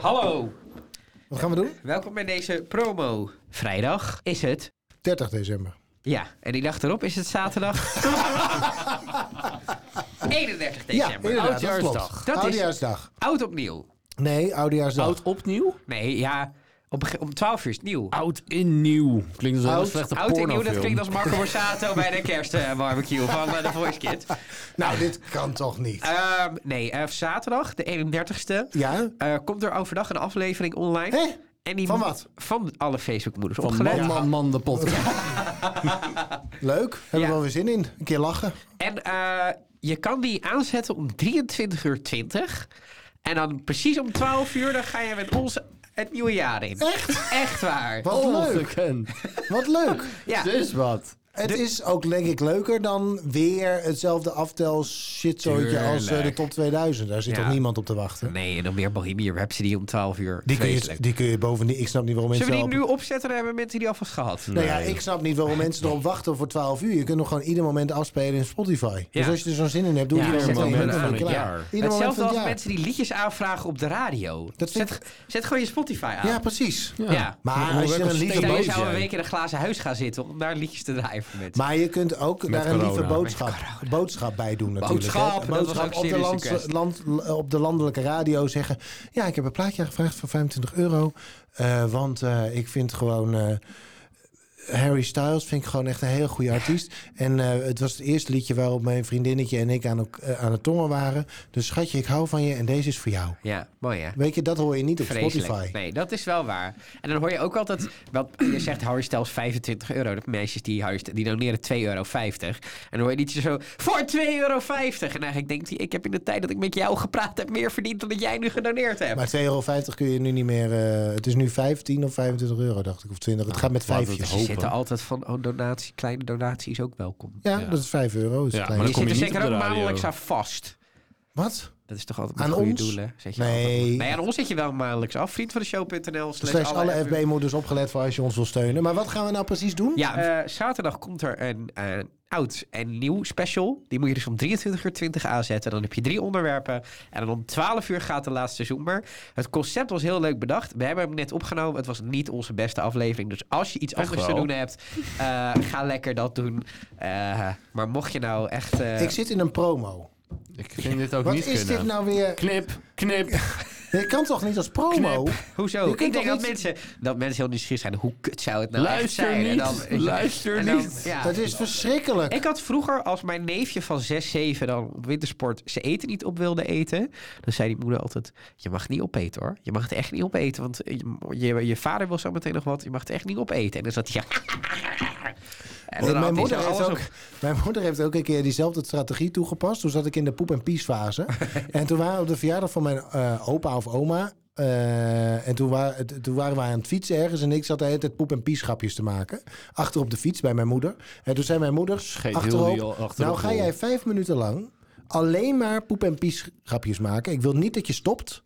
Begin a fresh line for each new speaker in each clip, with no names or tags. Hallo,
Wat gaan we doen?
welkom bij deze promo. Vrijdag is het.
30 december.
Ja, en die dag erop is het zaterdag. 31 december.
ja, inderdaad, dat
Oudjaarsdag.
klopt.
Dat is-
Oudjaarsdag.
Oud opnieuw.
Nee, Oudjaarsdag.
Oud opnieuw?
Nee, ja, om, beg- om 12 uur is het nieuw.
Oud in nieuw. Klinkt als een
Oud-
hele slechte
Oud en nieuw, dat
pornofilm.
klinkt als Marco Borsato bij de kerstbarbecue van eh, de Voice Kid.
Nou, dit kan toch niet?
Ehm, nee, eh, zaterdag, de 31ste,
Ja?
eh, komt er overdag een aflevering online.
Hé?
En die
Van
mo-
wat?
Van alle Facebookmoeders.
Van
opgelet.
man, man, man, de podcast.
Leuk. Hebben
Ja.
we wel weer zin in. Een keer lachen.
En eh, je kan die aanzetten om 23 uur 20. En dan precies om 12 uur, dan ga je met ons het nieuwe jaar in.
Echt?
Echt waar.
Wat leuk.
Ongekend.
Wat leuk.
Ja.
Dus Oh, wat.
Het is ook denk ik leuker dan weer hetzelfde aftel shitzootje als eh, de
Tuurlijk.
top 2000. Daar zit
Ja.
toch niemand op te wachten.
Nee, en dan weer Bohemian Rhapsody om 12 uur.
Die kun, je,
Vreselijk.
die kun je bovendien... Ik snap niet waarom mensen...
Zullen we die
op-
nu opzetten? Dan hebben mensen die alvast gehad.
Nou ja, ik snap niet waarom mensen erop wachten voor 12 uur. Je kunt nog gewoon ieder moment afspelen in Spotify. Dus
Ja.
als je er zo'n zin in hebt, doe
Ja,
je ieder
zet
moment
het
en dan
moment
ben je
aan het
klaar.
jaar.
Ieder moment
Hetzelfde
van het
als
jaar.
mensen die liedjes aanvragen op de radio.
Dat vind
zet, zet gewoon je Spotify aan.
Ja, precies.
Ja.
Maar
hoor
als je
ik
er een
nog
lieve
steeds.
Stel, je
verbood
zou een
jij.
week in een glazen huis gaan zitten om daar liedjes te draaien voor mensen.
Maar je kunt ook daar een
corona.
lieve
Met
boodschap, boodschap bij doen natuurlijk. hè.
Boodschap, dat was ook
op, de
serious
lands-
request.
land- op de landelijke radio zeggen... Ja, ik heb een plaatje gevraagd voor 25 euro. eh, want eh, ik vind gewoon... eh, Harry Styles vind ik gewoon echt een heel goede artiest. En eh, het was het eerste liedje waarop mijn vriendinnetje en ik aan, elk- eh, aan het tongen waren. Dus schatje, ik hou van je en deze is voor jou.
Ja, mooi hè?
Weet je, dat hoor je niet op
Vreselijk.
Spotify.
Nee, dat is wel waar. En dan hoor je ook altijd, wat je zegt Harry Styles 25 euro. De meisjes die, Harry, Styles- die doneren 2,50 euro. En dan hoor je liedje zo, voor 2,50 euro. En eigenlijk denkt hij, ik heb in de tijd dat ik met jou gepraat heb meer verdiend dan dat jij nu gedoneerd hebt.
Maar 2,50 euro kun je nu niet meer... eh, het is nu 15 of 25 euro, dacht ik. Of 20. Het gaat met
laten we
vijfjes.
het
Ze
hopen.
zitten altijd van, oh donatie, kleine donatie is ook welkom.
Ja, dat is 5 euro. Is
Ja,
klein.
maar dan
Je zit
kom
er
je niet
zeker
op
ook
de radio.
maandelijks aan vast.
Wat?
Dat is toch altijd met
Aan
goede
ons?
doelen? Zet je
Nee.
altijd- Nee, aan ons zit je wel maandelijks af. Vriend van de show.nl
Slechts alle FB-moeders opgelet voor als je ons wil steunen. Maar wat gaan we nou precies doen?
Ja, eh, zaterdag komt er een eh, oud en nieuw special. Die moet je dus om 23 uur 20 aanzetten. Dan heb je drie onderwerpen. En dan om 12 uur gaat de laatste zoomer. Het concept was heel leuk bedacht. We hebben hem net opgenomen. Het was niet onze beste aflevering. Dus als je iets anders te
wel.
doen hebt, eh, ga lekker dat doen. Eh, maar mocht je nou echt... eh,
Ik zit in een promo.
Ik ging dit ook
Wat
niet
is
kunnen.
dit nou weer?
Knip, knip.
Je kan toch niet als promo?
Hoezo?
Je
Ik
kunt
denk
toch
dat,
niet-
mensen, dat mensen heel nieuwsgierig zijn. Hoe kut zou het nou echt
Luister
zijn?
niet. Luister niet.
ja.
Dat is verschrikkelijk.
Ik had vroeger, als mijn neefje van 6, 7 dan op wintersport zijn eten niet op wilde eten, dan zei die moeder altijd: Je mag het niet opeten hoor. Je mag het echt niet opeten, want je, je, je vader wil zo meteen nog wat. Je mag het echt niet opeten. En dan zat hij. Ja. En dan
Nee,
had
mijn,
hij
moeder
zo
heeft
alles
ook,
op-
mijn moeder heeft ook een keer diezelfde strategie toegepast. Toen zat ik in de poep- en piesfase. en toen waren we op de verjaardag van mijn eh, opa of oma. eh, en toen, wa- t- toen waren we aan het fietsen ergens. En ik zat de hele tijd poep- en piesgrapjes te maken. Achter op de fiets bij mijn moeder. En toen zei mijn moeder,
Scheet heel
achterop,
die al achterop
nou ga
vol."
jij vijf minuten lang alleen maar poep- en piesgrapjes maken. Ik wil niet dat je stopt.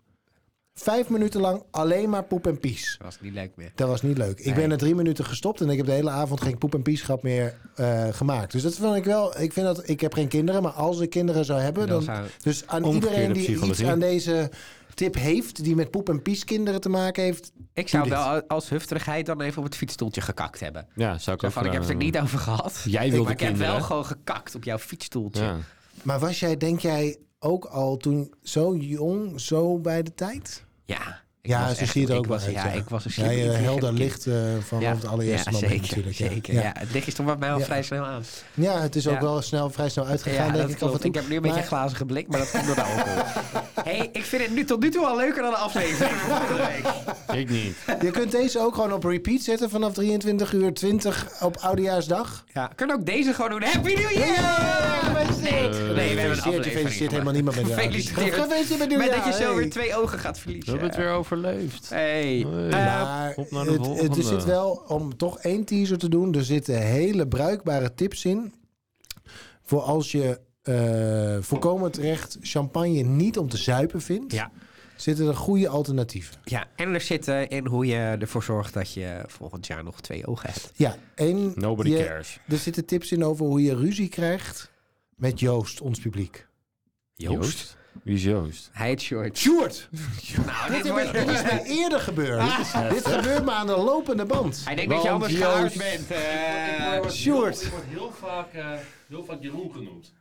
Vijf minuten lang alleen maar poep en pies.
Dat was niet leuk meer.
Dat was niet leuk. Ik
Nee.
ben na drie minuten gestopt en ik heb de hele avond geen poep en pieschap meer eh, gemaakt. Dus dat vind ik wel. Ik vind dat ik heb geen kinderen, maar als ik kinderen zou hebben,
Dan
dan,
zou-
dus aan
Omgekeerde
iedereen die iets
psychologie.
aan deze tip heeft, die met poep en pies kinderen te maken heeft,
Ik zou
dit.
wel als hufterigheid dan even op het fietsstoeltje gekakt hebben.
Ja, zou ik
Zo
ook
van, ik heb het er
eh,
gedaan
niet over gehad.
Jij
Ik-
wilde
maar ik heb
kinderen,
wel
hè?
gewoon gekakt op jouw fietsstoeltje.
hebben. Ja.
maar was jij denk jij ook al toen zo jong, zo bij de tijd?
Ja, ik
ja,
was
zo
echt-
zie je er
ik
ook wel
was-
uit.
Ja, ik was een
Ja,
slimme,
je
intelligente
helder
kind.
licht eh, vanaf het allereerste moment
zeker,
natuurlijk. ja.
Zeker,
Ja.
ja. Het licht is toch bij mij al
Ja.
vrij snel aan.
Ja, het is ook
Ja.
wel snel, vrij snel uitgegaan.
Ja, dat
denk ik, af en
klopt.
toe.
Ik heb nu een beetje
Maar-
een glazige blik, maar dat komt door de alcohol. hey, ik vind het nu tot nu toe al leuker dan de aflevering van vorige week.
Ik niet.
Je kunt deze ook gewoon op repeat zetten vanaf 23 uur 20 op Oudejaarsdag.
Ja, kunnen we ook deze gewoon doen. Happy New Year! Gefeliciteerd! Nee, we hebben een
Gefeliciteerd, je
aflevering gemaakt.
feliciteert helemaal dus- niemand met de
Gefeliciteerd.
Gefeliciteerd met
Met dat je
nieuwjaar,
zo
hey.
weer twee ogen gaat
We
verliezen.
hebben het weer overleefd.
Hey.
Hey.
Eh,
Maar
op naar de
het, het, er
volgende.
zit wel, om toch één teaser te doen, er zitten hele bruikbare tips in. Voor als je eh volkomen terecht champagne niet om te zuipen vindt,
Ja.
zitten er goede alternatieven.
ja, en er zitten in hoe je ervoor zorgt dat je volgend jaar nog twee ogen hebt.
Ja, één.
Nobody
je-
cares.
Er zitten tips in over hoe je ruzie krijgt met Joost, ons publiek.
Joost?
Wie is Joost?
Hij heet Short.
Sjoerd!
Nou,
Dit
dit wordt...
is mij eerder gebeurd.
Ah.
Dit gebeurt me aan de lopende band.
Hij denkt dat je
Want
anders
Joost-
gehuisd bent. eh.
Ik word
Sjoerd.
heel- Ik word heel vaak, eh, heel vaak Jeroen genoemd.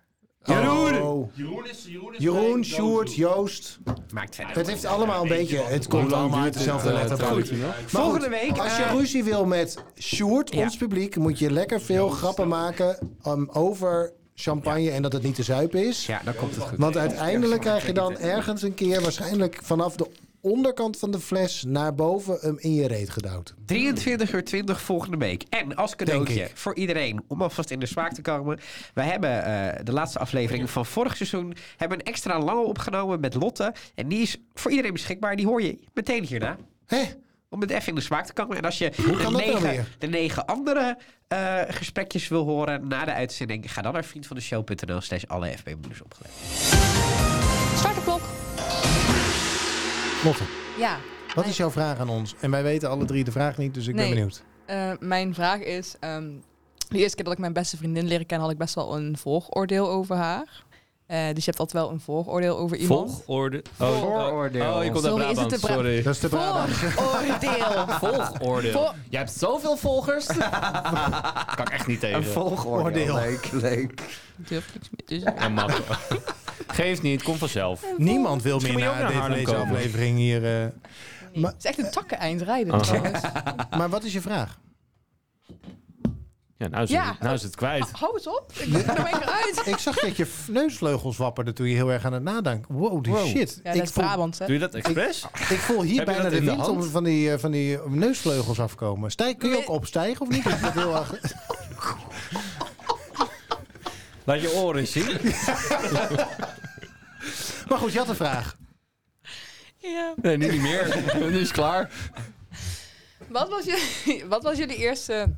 Jeroen!
Jeroen is Jeroen. Is
Oh. Jeroen,
mijn
Sjoerd,
dooddoel.
Joost.
Maakt verder.
Het heeft allemaal een beetje... Het komt
Hoe lang
allemaal uit
duurt het,
dezelfde
eh,
letterbank.
trouwens?
Ja,
Maar
Volgende
goed,
week,
Als je
eh,
ruzie wil met Sjoerd,
Ja.
ons publiek, moet je lekker veel grappen maken um, over champagne en dat het niet te zuipen is.
Ja, dan komt het goed.
Want uiteindelijk krijg je dan ergens een keer, waarschijnlijk vanaf de onderkant van de fles naar boven, hem in je reet gedouwd.
23 uur 20 volgende week. En als
Denk
cadeautje
ik.
voor iedereen, om alvast in de smaak te komen. Wij hebben eh, de laatste aflevering van vorig seizoen hebben een extra lange opgenomen met Lotte. En die is voor iedereen beschikbaar. Die hoor je meteen hierna.
Hè?
Om het even in de smaak te komen. En als je de
kan dat nou
negen,
weer?
de negen andere eh, gesprekjes wil horen na de uitzending, ga dan naar vriendvandeshow.nl slash alle FB Moeders opgelet.
Start de klok.
Lotte,
Ja.
wat is jouw vraag aan ons? En wij weten alle drie de vraag niet, dus ik ben
Nee.
benieuwd.
Eh, mijn vraag is: ehm, de eerste keer dat ik mijn beste vriendin leren kennen, had ik best wel een vooroordeel over haar. Eh, dus je hebt altijd wel een vooroordeel over iemand.
Volgorde.
Vooroordeel.
Oh, oh, ik kom uit
Sorry, is het
Brabant.
de Bra-
Sorry.
Dat is de Brabant.
Vooroordeel.
Volgorde.
Voor-
Jij hebt zoveel volgers. kan ik echt niet tegen.
Een volgorde.
Oordeel.
Leuk, leuk.
Durf niks meer te zeggen.
En mappen. Geeft niet, kom vanzelf.
Niemand wil meer
Misschien moet
naar,
je ook naar
deze,
Haarlem
deze
komen.
aflevering hier. eh. Maar-
Het is echt een takken eind rijden
Oh.
trouwens.
Maar wat is je vraag?
Ja, nou is,
Ja.
Het, nou is het kwijt.
Hou eens op. Ik ben er weer uit.
Ik zag dat je f- neusvleugels wapperde toen je heel erg aan het nadenken. Wow, die
Wow.
shit.
Ja, dat
ik,
is
voel,
Brabant, hè?
Doe je dat expres?
ik voel hier
Heb je
bijna
dat
de
in de
wind
hand?
om van die, eh, van die neusvleugels afkomen. Stij, kun je
Nee.
ook opstijgen of niet? Is dat heel erg-
Laat je oren zien.
Maar goed, je had een vraag.
Ja.
Nee, nu niet meer. nu is het klaar.
Wat was, je, wat was jullie eerste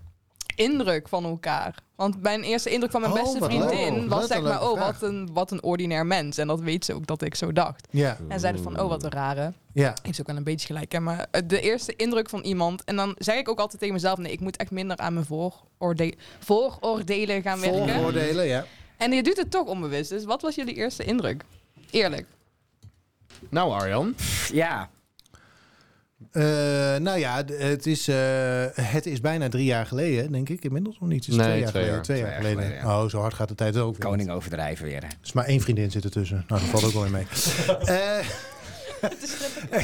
indruk van elkaar? Want mijn eerste indruk van mijn
Oh,
beste
wat leuk.
vriendin
Oh,
was
wat
zeg
een
maar,
leuke
oh,
vraag.
wat een, wat een ordinair mens. En dat weet ze ook dat ik zo dacht.
Ja,
En zeiden van, oh, wat een
Hmm.
rare.
ja.
Heeft ze ook wel een beetje gelijk, hè. Maar eh, de eerste indruk van iemand... En dan zeg ik ook altijd tegen mezelf... Nee, ik moet echt minder aan mijn vooroorde- vooroordelen gaan werken.
Vooroordelen, ja.
En je doet het toch onbewust. Dus wat was jullie eerste indruk? Eerlijk.
Nou, Arjan.
Ja.
Eh, nou ja, d- het is, eh, het is bijna drie jaar geleden, denk ik. Inmiddels nog niet. Het is
Nee,
twee jaar
twee
geleden.
jaar.
twee jaar
Twee jaar
geleden.
geleden,
Oh, zo hard gaat de tijd ook. weer.
Koning overdrijven weer. hè.
Er is maar één vriendin zit ertussen. Nou, dat valt ook wel in mee. Eh,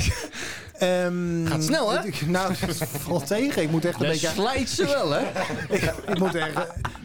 ehm,
Gaat snel, hè?
ik- nou, dat valt tegen. Ik moet echt een
Dat
beetje...
slijt ze wel, hè?
ik moet er,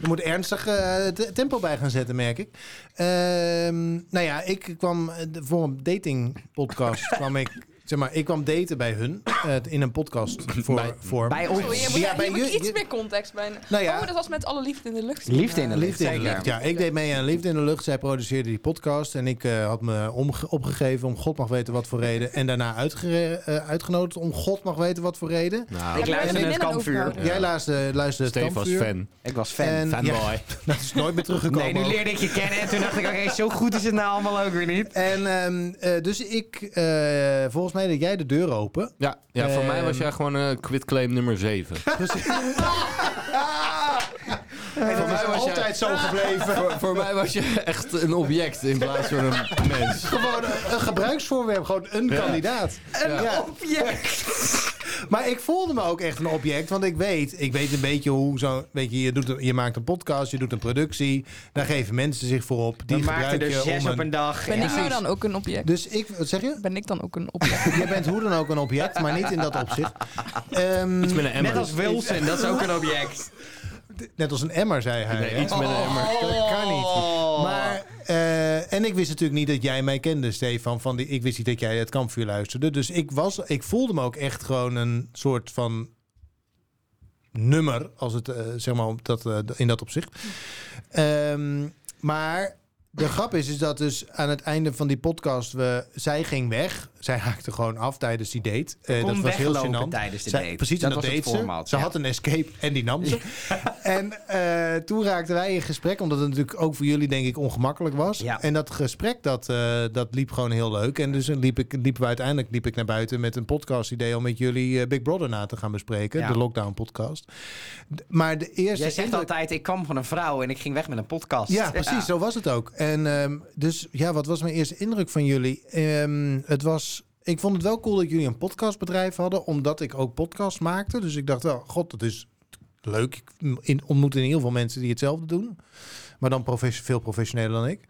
ik moet ernstig eh, te- tempo bij gaan zetten, merk ik. Ehm, nou ja, ik kwam eh, de- voor een dating podcast kwam ik. Zeg maar, ik kwam daten bij hun eh, in een podcast voor, vorm.
Bij
Sorry, Oh, je
ons.
moet,
Eh, Ja,
ja,
bij
je moet
je-
iets
je-
meer context bij.
Nou ja.
Oh, dat was met alle liefde in de lucht.
Liefde in de lucht.
Liefde in de
Zeker.
lucht. Ja, ik deed mee aan Liefde in de lucht. Zij produceerde die podcast. En ik eh, had me omge- opgegeven om God mag weten wat voor reden. En daarna uitgere- eh, uitgenodigd om God mag weten wat voor reden.
Ik
Nou,
luister
luister naar het
vriendinnen
kampvuur.
overhouden.
Jij luisterde, luisterde het
Steve was
Kampvuur.
fan.
Ik was fan.
En-
Fanboy.
Dat is nooit meer teruggekomen.
Nee, nu
ook.
leerde ik je kennen en toen dacht ik, oké, zo goed is het nou allemaal ook weer niet.
En ehm, eh, dus ik, eh, volgens mij deed jij de deur open.
Ja, ja voor
Ehm.
mij was jij gewoon eh quitclaim nummer 7.
en dat
mij
is
was jij-
altijd zo gebleven.
voor, voor mij was je echt een object in plaats van een mens.
gewoon een gebruiksvoorwerp, gewoon een kandidaat. Ja.
Object.
Maar ik voelde me ook echt een object, want ik weet, ik weet een beetje hoe zo, weet je, je, doet een- je maakt een podcast, je doet een productie, daar geven mensen zich voor op. Die
Die maakte
gebruik
er
je
zes
om
op een dag.
Ben
Ja.
ik nou dan ook een object?
Dus ik, wat zeg je?
Ben ik dan ook een object?
Je bent hoe dan ook een object, maar niet in dat opzicht. Ehm,
Iets met een emmer.
Net als Wilson, dat is ook een object.
net als een emmer, zei hij.
Nee,
hè?
iets met een emmer.
Dat kan niet.
Oh.
Maar, eh, en ik wist natuurlijk niet dat jij mij kende, Stefan. Van die, ik wist niet dat jij het kampvuur luisterde. Dus ik, was, ik voelde me ook echt gewoon een soort van nummer. Als het, eh, zeg maar, op dat, eh, in dat opzicht. Ehm, maar de grap is, is dat dus aan het einde van die podcast... We, zij ging weg. zij haakte gewoon af tijdens die date. Eh, dat was heel
weglopen
gênant.
tijdens de
Zij-
date.
Precies,
Dat
en dat
was het
deed ze.
format,
Ze
ja.
had een escape en die nam ze. en eh, toen raakten wij in gesprek, omdat het natuurlijk ook voor jullie denk ik ongemakkelijk was.
Ja.
En dat gesprek, dat, eh, dat liep gewoon heel leuk. En dus liep ik, liepen we uiteindelijk liep ik naar buiten met een podcast idee... om met jullie eh, Big Brother na te gaan bespreken,
Ja.
de lockdown podcast. D- Maar de eerste...
Jij zegt
indruk-
altijd, ik kwam van een vrouw en ik ging weg met een podcast.
ja, precies, zo was het ook. En ehm, dus ja, wat was mijn eerste indruk van jullie? Ehm, het was. Ik vond het wel cool dat jullie een podcastbedrijf hadden, omdat ik ook podcasts maakte. Dus ik dacht wel, god, dat is leuk. Ik in- ontmoet in heel veel mensen die hetzelfde doen, maar dan profes- veel professioneler dan ik.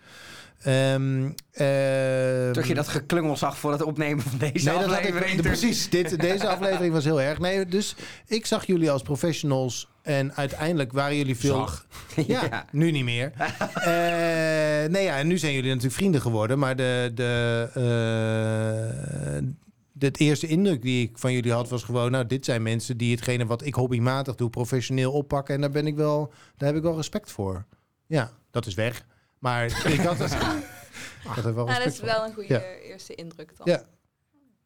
Ehm, ehm,
Toen je dat geklungel zag voor het opnemen van deze
dat had ik-
aflevering.
de-
toen-
precies. Dit, deze aflevering was heel erg. Nee, dus ik zag jullie als professionals. En uiteindelijk waren jullie veel.
Zag.
Ja,
Ja.
nu niet meer. Eh, nee, ja, en nu zijn jullie natuurlijk vrienden geworden. Maar de. de eh, het eerste indruk die ik van jullie had was gewoon... nou, dit zijn mensen die hetgene wat ik hobbymatig doe... professioneel oppakken. En daar, ben ik wel, daar heb ik wel respect voor. Ja, dat is weg. Maar ik had het... Ik had er wel
Ja, dat
respect
is
voor.
wel een goede
Ja.
eerste indruk dan.
Ja.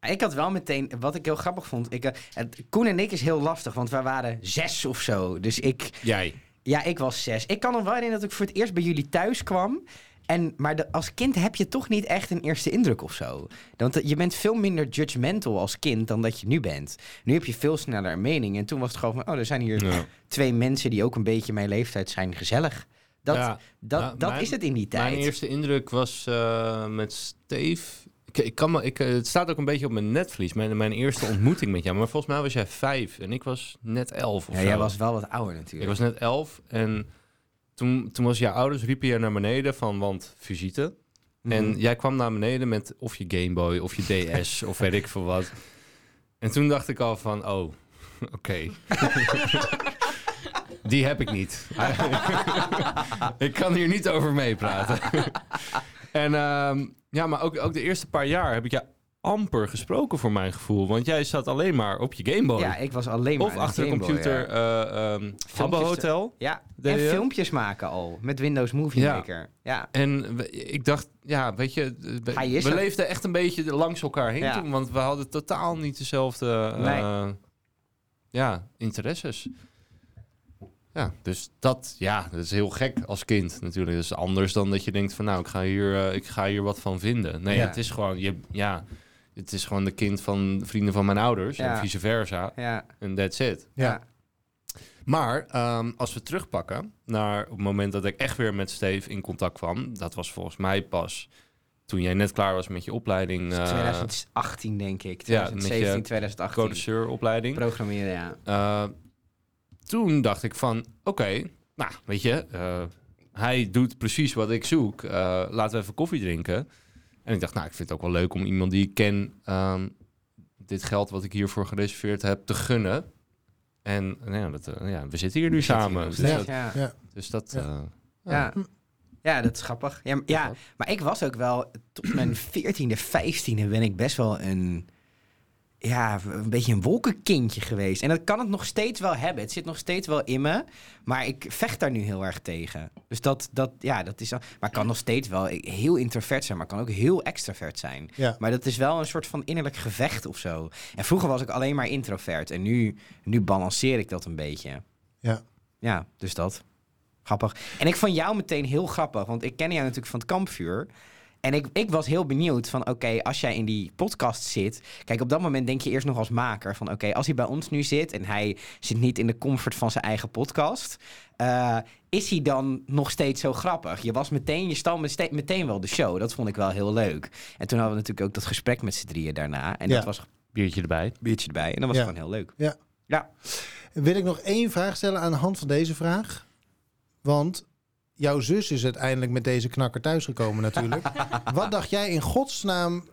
Ik had wel meteen, wat ik heel grappig vond. Ik, eh, het, Koen en ik is heel lastig, want wij waren zes of zo. Dus ik,
Jij.
ja, ik was zes. Ik kan nog wel herinneren dat ik voor het eerst bij jullie thuis kwam. En, maar de- als kind heb je toch niet echt een eerste indruk of zo. Want eh, je bent veel minder judgmental als kind dan dat je nu bent. Nu heb je veel sneller een mening. En toen was het gewoon van, oh, er zijn hier twee mensen die ook een beetje mijn leeftijd zijn gezellig. Dat,
Ja.
dat,
Nou,
dat
mijn-
is het in die tijd.
Mijn eerste indruk was eh, met Steve. Ik, ik kan me, ik, eh, het staat ook een beetje op mijn netvlies. Mijn, mijn eerste ontmoeting met jou. Maar volgens mij was jij vijf en ik was net elf. Of
ja,
zo.
jij was wel wat ouder
Ik
natuurlijk.
was net elf en toen, toen was jouw ouders riepen je naar beneden van want visite.
Mhm.
En jij kwam naar beneden met of je Game Boy of je DS of weet ik veel wat. En toen dacht ik al van, oh, oké. Die heb ik niet. ik kan hier niet over meepraten. en ehm, ja, maar ook, ook de eerste paar jaar heb ik jou amper gesproken voor mijn gevoel. Want jij zat alleen maar op je Game Boy.
ja, ik was alleen maar
of
aan het
achter de
Gameboy,
computer
ja.
eh, ehm, Habbo Hotel.
Ja,
Deed
en
je?
filmpjes maken al. Met Windows Movie
Ja.
Maker. Ja.
En we- ik dacht, ja, weet je, eh, we,
Hij is
we
er.
leefden echt een beetje langs elkaar heen
Ja.
toen, want we hadden totaal niet dezelfde eh,
Nee.
ja, interesses. Ja, dus dat, ja, dat is heel gek als kind natuurlijk. Dat is anders dan dat je denkt van, nou, ik ga hier, eh, ik ga hier wat van vinden. Nee,
Ja.
het is gewoon, je, ja, het is gewoon de kind van vrienden van mijn ouders en
Ja.
vice versa.
Ja.
En that's it.
Ja.
Maar ehm, als we terugpakken naar het moment dat ik echt weer met Steve in contact kwam, dat was volgens mij pas toen jij net klaar was met je opleiding, eh,
2018 denk ik.
ja, met je
2017, 2018.
codeceuropleiding.
Programmeren, ja.
Eh, toen dacht ik van, oké, nou weet je, eh, hij doet precies wat ik zoek. Eh, laten we even koffie drinken. En ik dacht, nou, ik vind het ook wel leuk om iemand die ik ken ehm, dit geld wat ik hiervoor gereserveerd heb te gunnen. En nou ja, dat, eh, ja, we zitten hier nu samen.
Ja.
Dus
Ja.
dat-
Ja.
Ja.
Dus dat...
Ja.
eh,
Ja. dat is grappig. Ja, maar- ja, maar ik was ook wel... Tot mijn 14e, 15e ben ik best wel een... Ja, een beetje een wolkenkindje geweest. En dat kan het nog steeds wel hebben. Het zit nog steeds wel in me. Maar ik vecht daar nu heel erg tegen. Dus dat, dat ja, dat is... al- Maar ik kan nog steeds wel heel introvert zijn. Maar ik kan ook heel extravert zijn.
Ja.
Maar dat is wel een soort van innerlijk gevecht of zo. En vroeger was ik alleen maar introvert. En nu, nu balanceer ik dat een beetje.
Ja.
Ja, dus dat. Grappig. En ik vond jou meteen heel grappig. Want ik ken jou natuurlijk van het kampvuur. En ik, ik was heel benieuwd van, oké, als jij in die podcast zit... Kijk, op dat moment denk je eerst nog als maker van... Oké, als hij bij ons nu zit en hij zit niet in de comfort van zijn eigen podcast... eh, is hij dan nog steeds zo grappig? Je was meteen, je stal mete- meteen wel de show. Dat vond ik wel heel leuk. En toen hadden we natuurlijk ook dat gesprek met z'n drieën daarna. En
Ja.
dat was een
biertje erbij.
biertje erbij. En dat was
Ja.
gewoon heel leuk.
Ja.
Ja.
Wil ik nog één vraag stellen aan de hand van deze vraag? Want jouw zus is uiteindelijk met deze knakker thuisgekomen natuurlijk. Wat dacht jij in godsnaam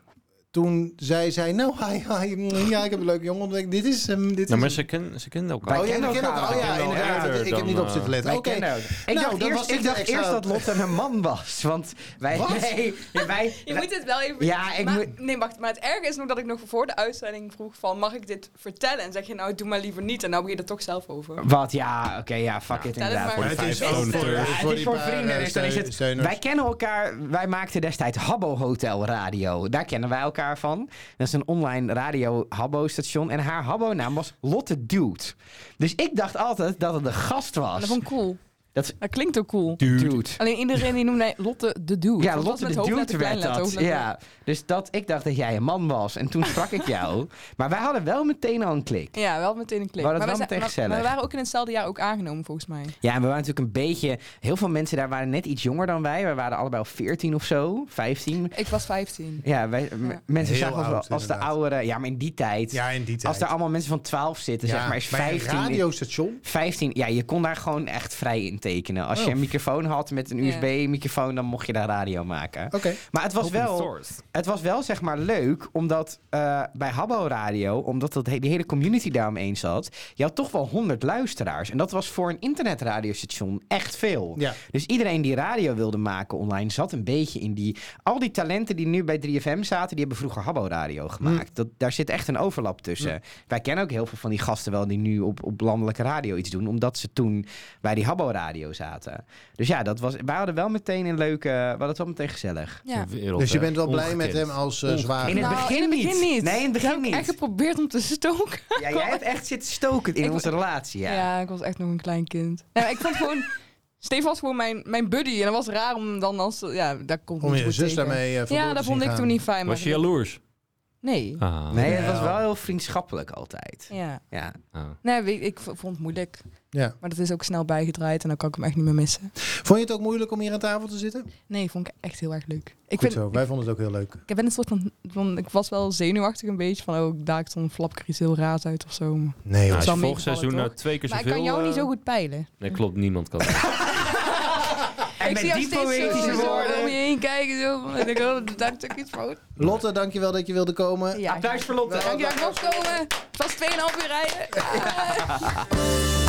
toen zij zei... Nou, hi, hi, mm, ja, ik heb een leuke jongen ontdekt. Dit is hem, dit
Nou, maar
is
ze kennen ze kennen elkaar.
Wij
Oh, jij
kennen
kent elkaar.
elkaar.
Oh ja,
Wij kennen elkaar
inderdaad. Ik heb
dan,
niet op
eh,
zitten letten.
Wij
Oké.
kennen ook. Ik
Nou,
dacht,
dat
eerst,
was
ik
ik
dacht
extra-
eerst dat Lotte een man was. Want wij.
Wat?
Nee, wij,
Je
wij-
moet het wel even...
Ja, ik
maar,
moet-
Nee, wacht. Maar het erge is nog dat ik nog voor de uitzending vroeg van... mag ik dit vertellen? En zeg je nou, doe maar liever niet. En nou begin je er toch zelf over.
Wat ja, oké, ja, fuck it
tel het
inderdaad.
maar.
Voor de
Het is
vijf.
ook voor- eh,
Ja,
Ja,
eh, het is voor
eh,
vrienden, dus dan is het... Wij kennen elkaar, wij maakten destijds Habbo Hotel Radio. Daar kennen wij elkaar elkaar van. Dat is een online radio Habbo-station. En haar Habbo-naam was Lotte Dude. Dus ik dacht altijd dat het een gast was.
Dat vond ik cool.
Dat is-
Dat klinkt ook cool.
Dude.
Alleen iedereen die noemde Lotte de Dude.
Ja,
Want dat
Lotte
met
de
hoofdletter,
Dude werd
kleinletter,
dat.
hoofdletter.
Ja. Dus dat, ik dacht dat jij een man was. En toen sprak ik jou. Maar wij hadden wel meteen al een klik.
Ja, wel meteen een klik.
Wou dat
wij
wel meteen
zijn- maar, maar we
gezellig.
waren ook in hetzelfde jaar ook aangenomen, volgens mij.
Ja, en we waren natuurlijk een beetje... Heel veel mensen daar waren net iets jonger dan wij. We waren allebei al 14 of zo. 15.
Ik was 15.
Ja, wij, m-
Ja.
mensen
Heel
zagen ons wel
oud,
als de
inderdaad.
oudere... Ja, maar in die tijd...
Ja, in die tijd.
Als er allemaal mensen van 12 zitten,
Ja,
zeg maar, is
bij een
15...
radiostation?
15, ja, je kon daar gewoon echt vrij in tekenen. Als je
Oh.
een microfoon had met een
Ja.
USB-microfoon, dan mocht je daar radio maken.
Oké.
Maar het was
Open
wel...
source.
Het was wel zeg maar leuk, omdat eh, bij Habbo Radio, omdat dat he- die hele community daaromheen zat, je had toch wel 100 luisteraars. En dat was voor een internetradiostation echt veel.
Ja.
Dus iedereen die radio wilde maken online zat een beetje in die. Al die talenten die nu bij 3FM zaten, die hebben vroeger Habbo Radio gemaakt. Dat, daar zit echt een overlap tussen. Wij kennen ook heel veel van die gasten wel die nu op, op landelijke radio iets doen, omdat ze toen bij die Habbo Radio zaten. Dus ja, dat was, wij hadden wel meteen een leuke. We hadden het wel meteen gezellig.
Ja.
De wereld,
Dus je
eh,
bent wel blij met
ongekend.
hem als eh zwaar.
In het
Nou,
begin
in het
niet.
begin niet.
Nee, in het
Ik heb
begin
ook
niet.
echt geprobeerd om te stoken.
Ja, jij hebt echt zitten stoken in
Ik-
onze relatie. Ja.
Ja. ik was echt nog een klein kind. Nou, ik vond gewoon... Steven was gewoon mijn, mijn buddy. En dat was raar om dan als... Ja, daar komt
Om
niet
je
goed
zus
tegen.
daarmee eh vandoor
Ja, dat
te
vond
zien
ik
gaan.
toen niet fijn.
Was je
maar-
jaloers?
Nee.
Ah,
Nee, het was
Wel.
wel heel vriendschappelijk altijd.
Ja.
Ja.
ah.
Nee, weet- ik v- vond het moeilijk.
Ja.
Maar dat is ook snel bijgedraaid en dan kan ik hem echt niet meer missen.
Vond je het ook moeilijk om hier aan tafel te zitten?
Nee, vond ik echt heel erg leuk. Ik,
Goed
vind,
zo, wij vonden het ook heel leuk.
ik ben een soort van, van- Ik was wel zenuwachtig een beetje van... Oh, daar zo'n flapker iets heel raars uit of zo. Maar
Nee,
Nou, als
zal
je volgend
meevallen,
seizoen
toch?
nou twee keer
ik
zoveel...
kan jou niet
eh,
zo goed peilen.
Nee, klopt. Niemand kan.
En
ik
met
zie jou
die
steeds
poëtische
zo, zo om
woorden.
je heen kijken. Zo, van, en ik oh, daar heb ik iets fout.
Lotte, dankjewel dat je wilde komen.
Ja.
Nou, Applaus voor Lotte.
Dank je wel, komen. Het was 2,5 uur rijden.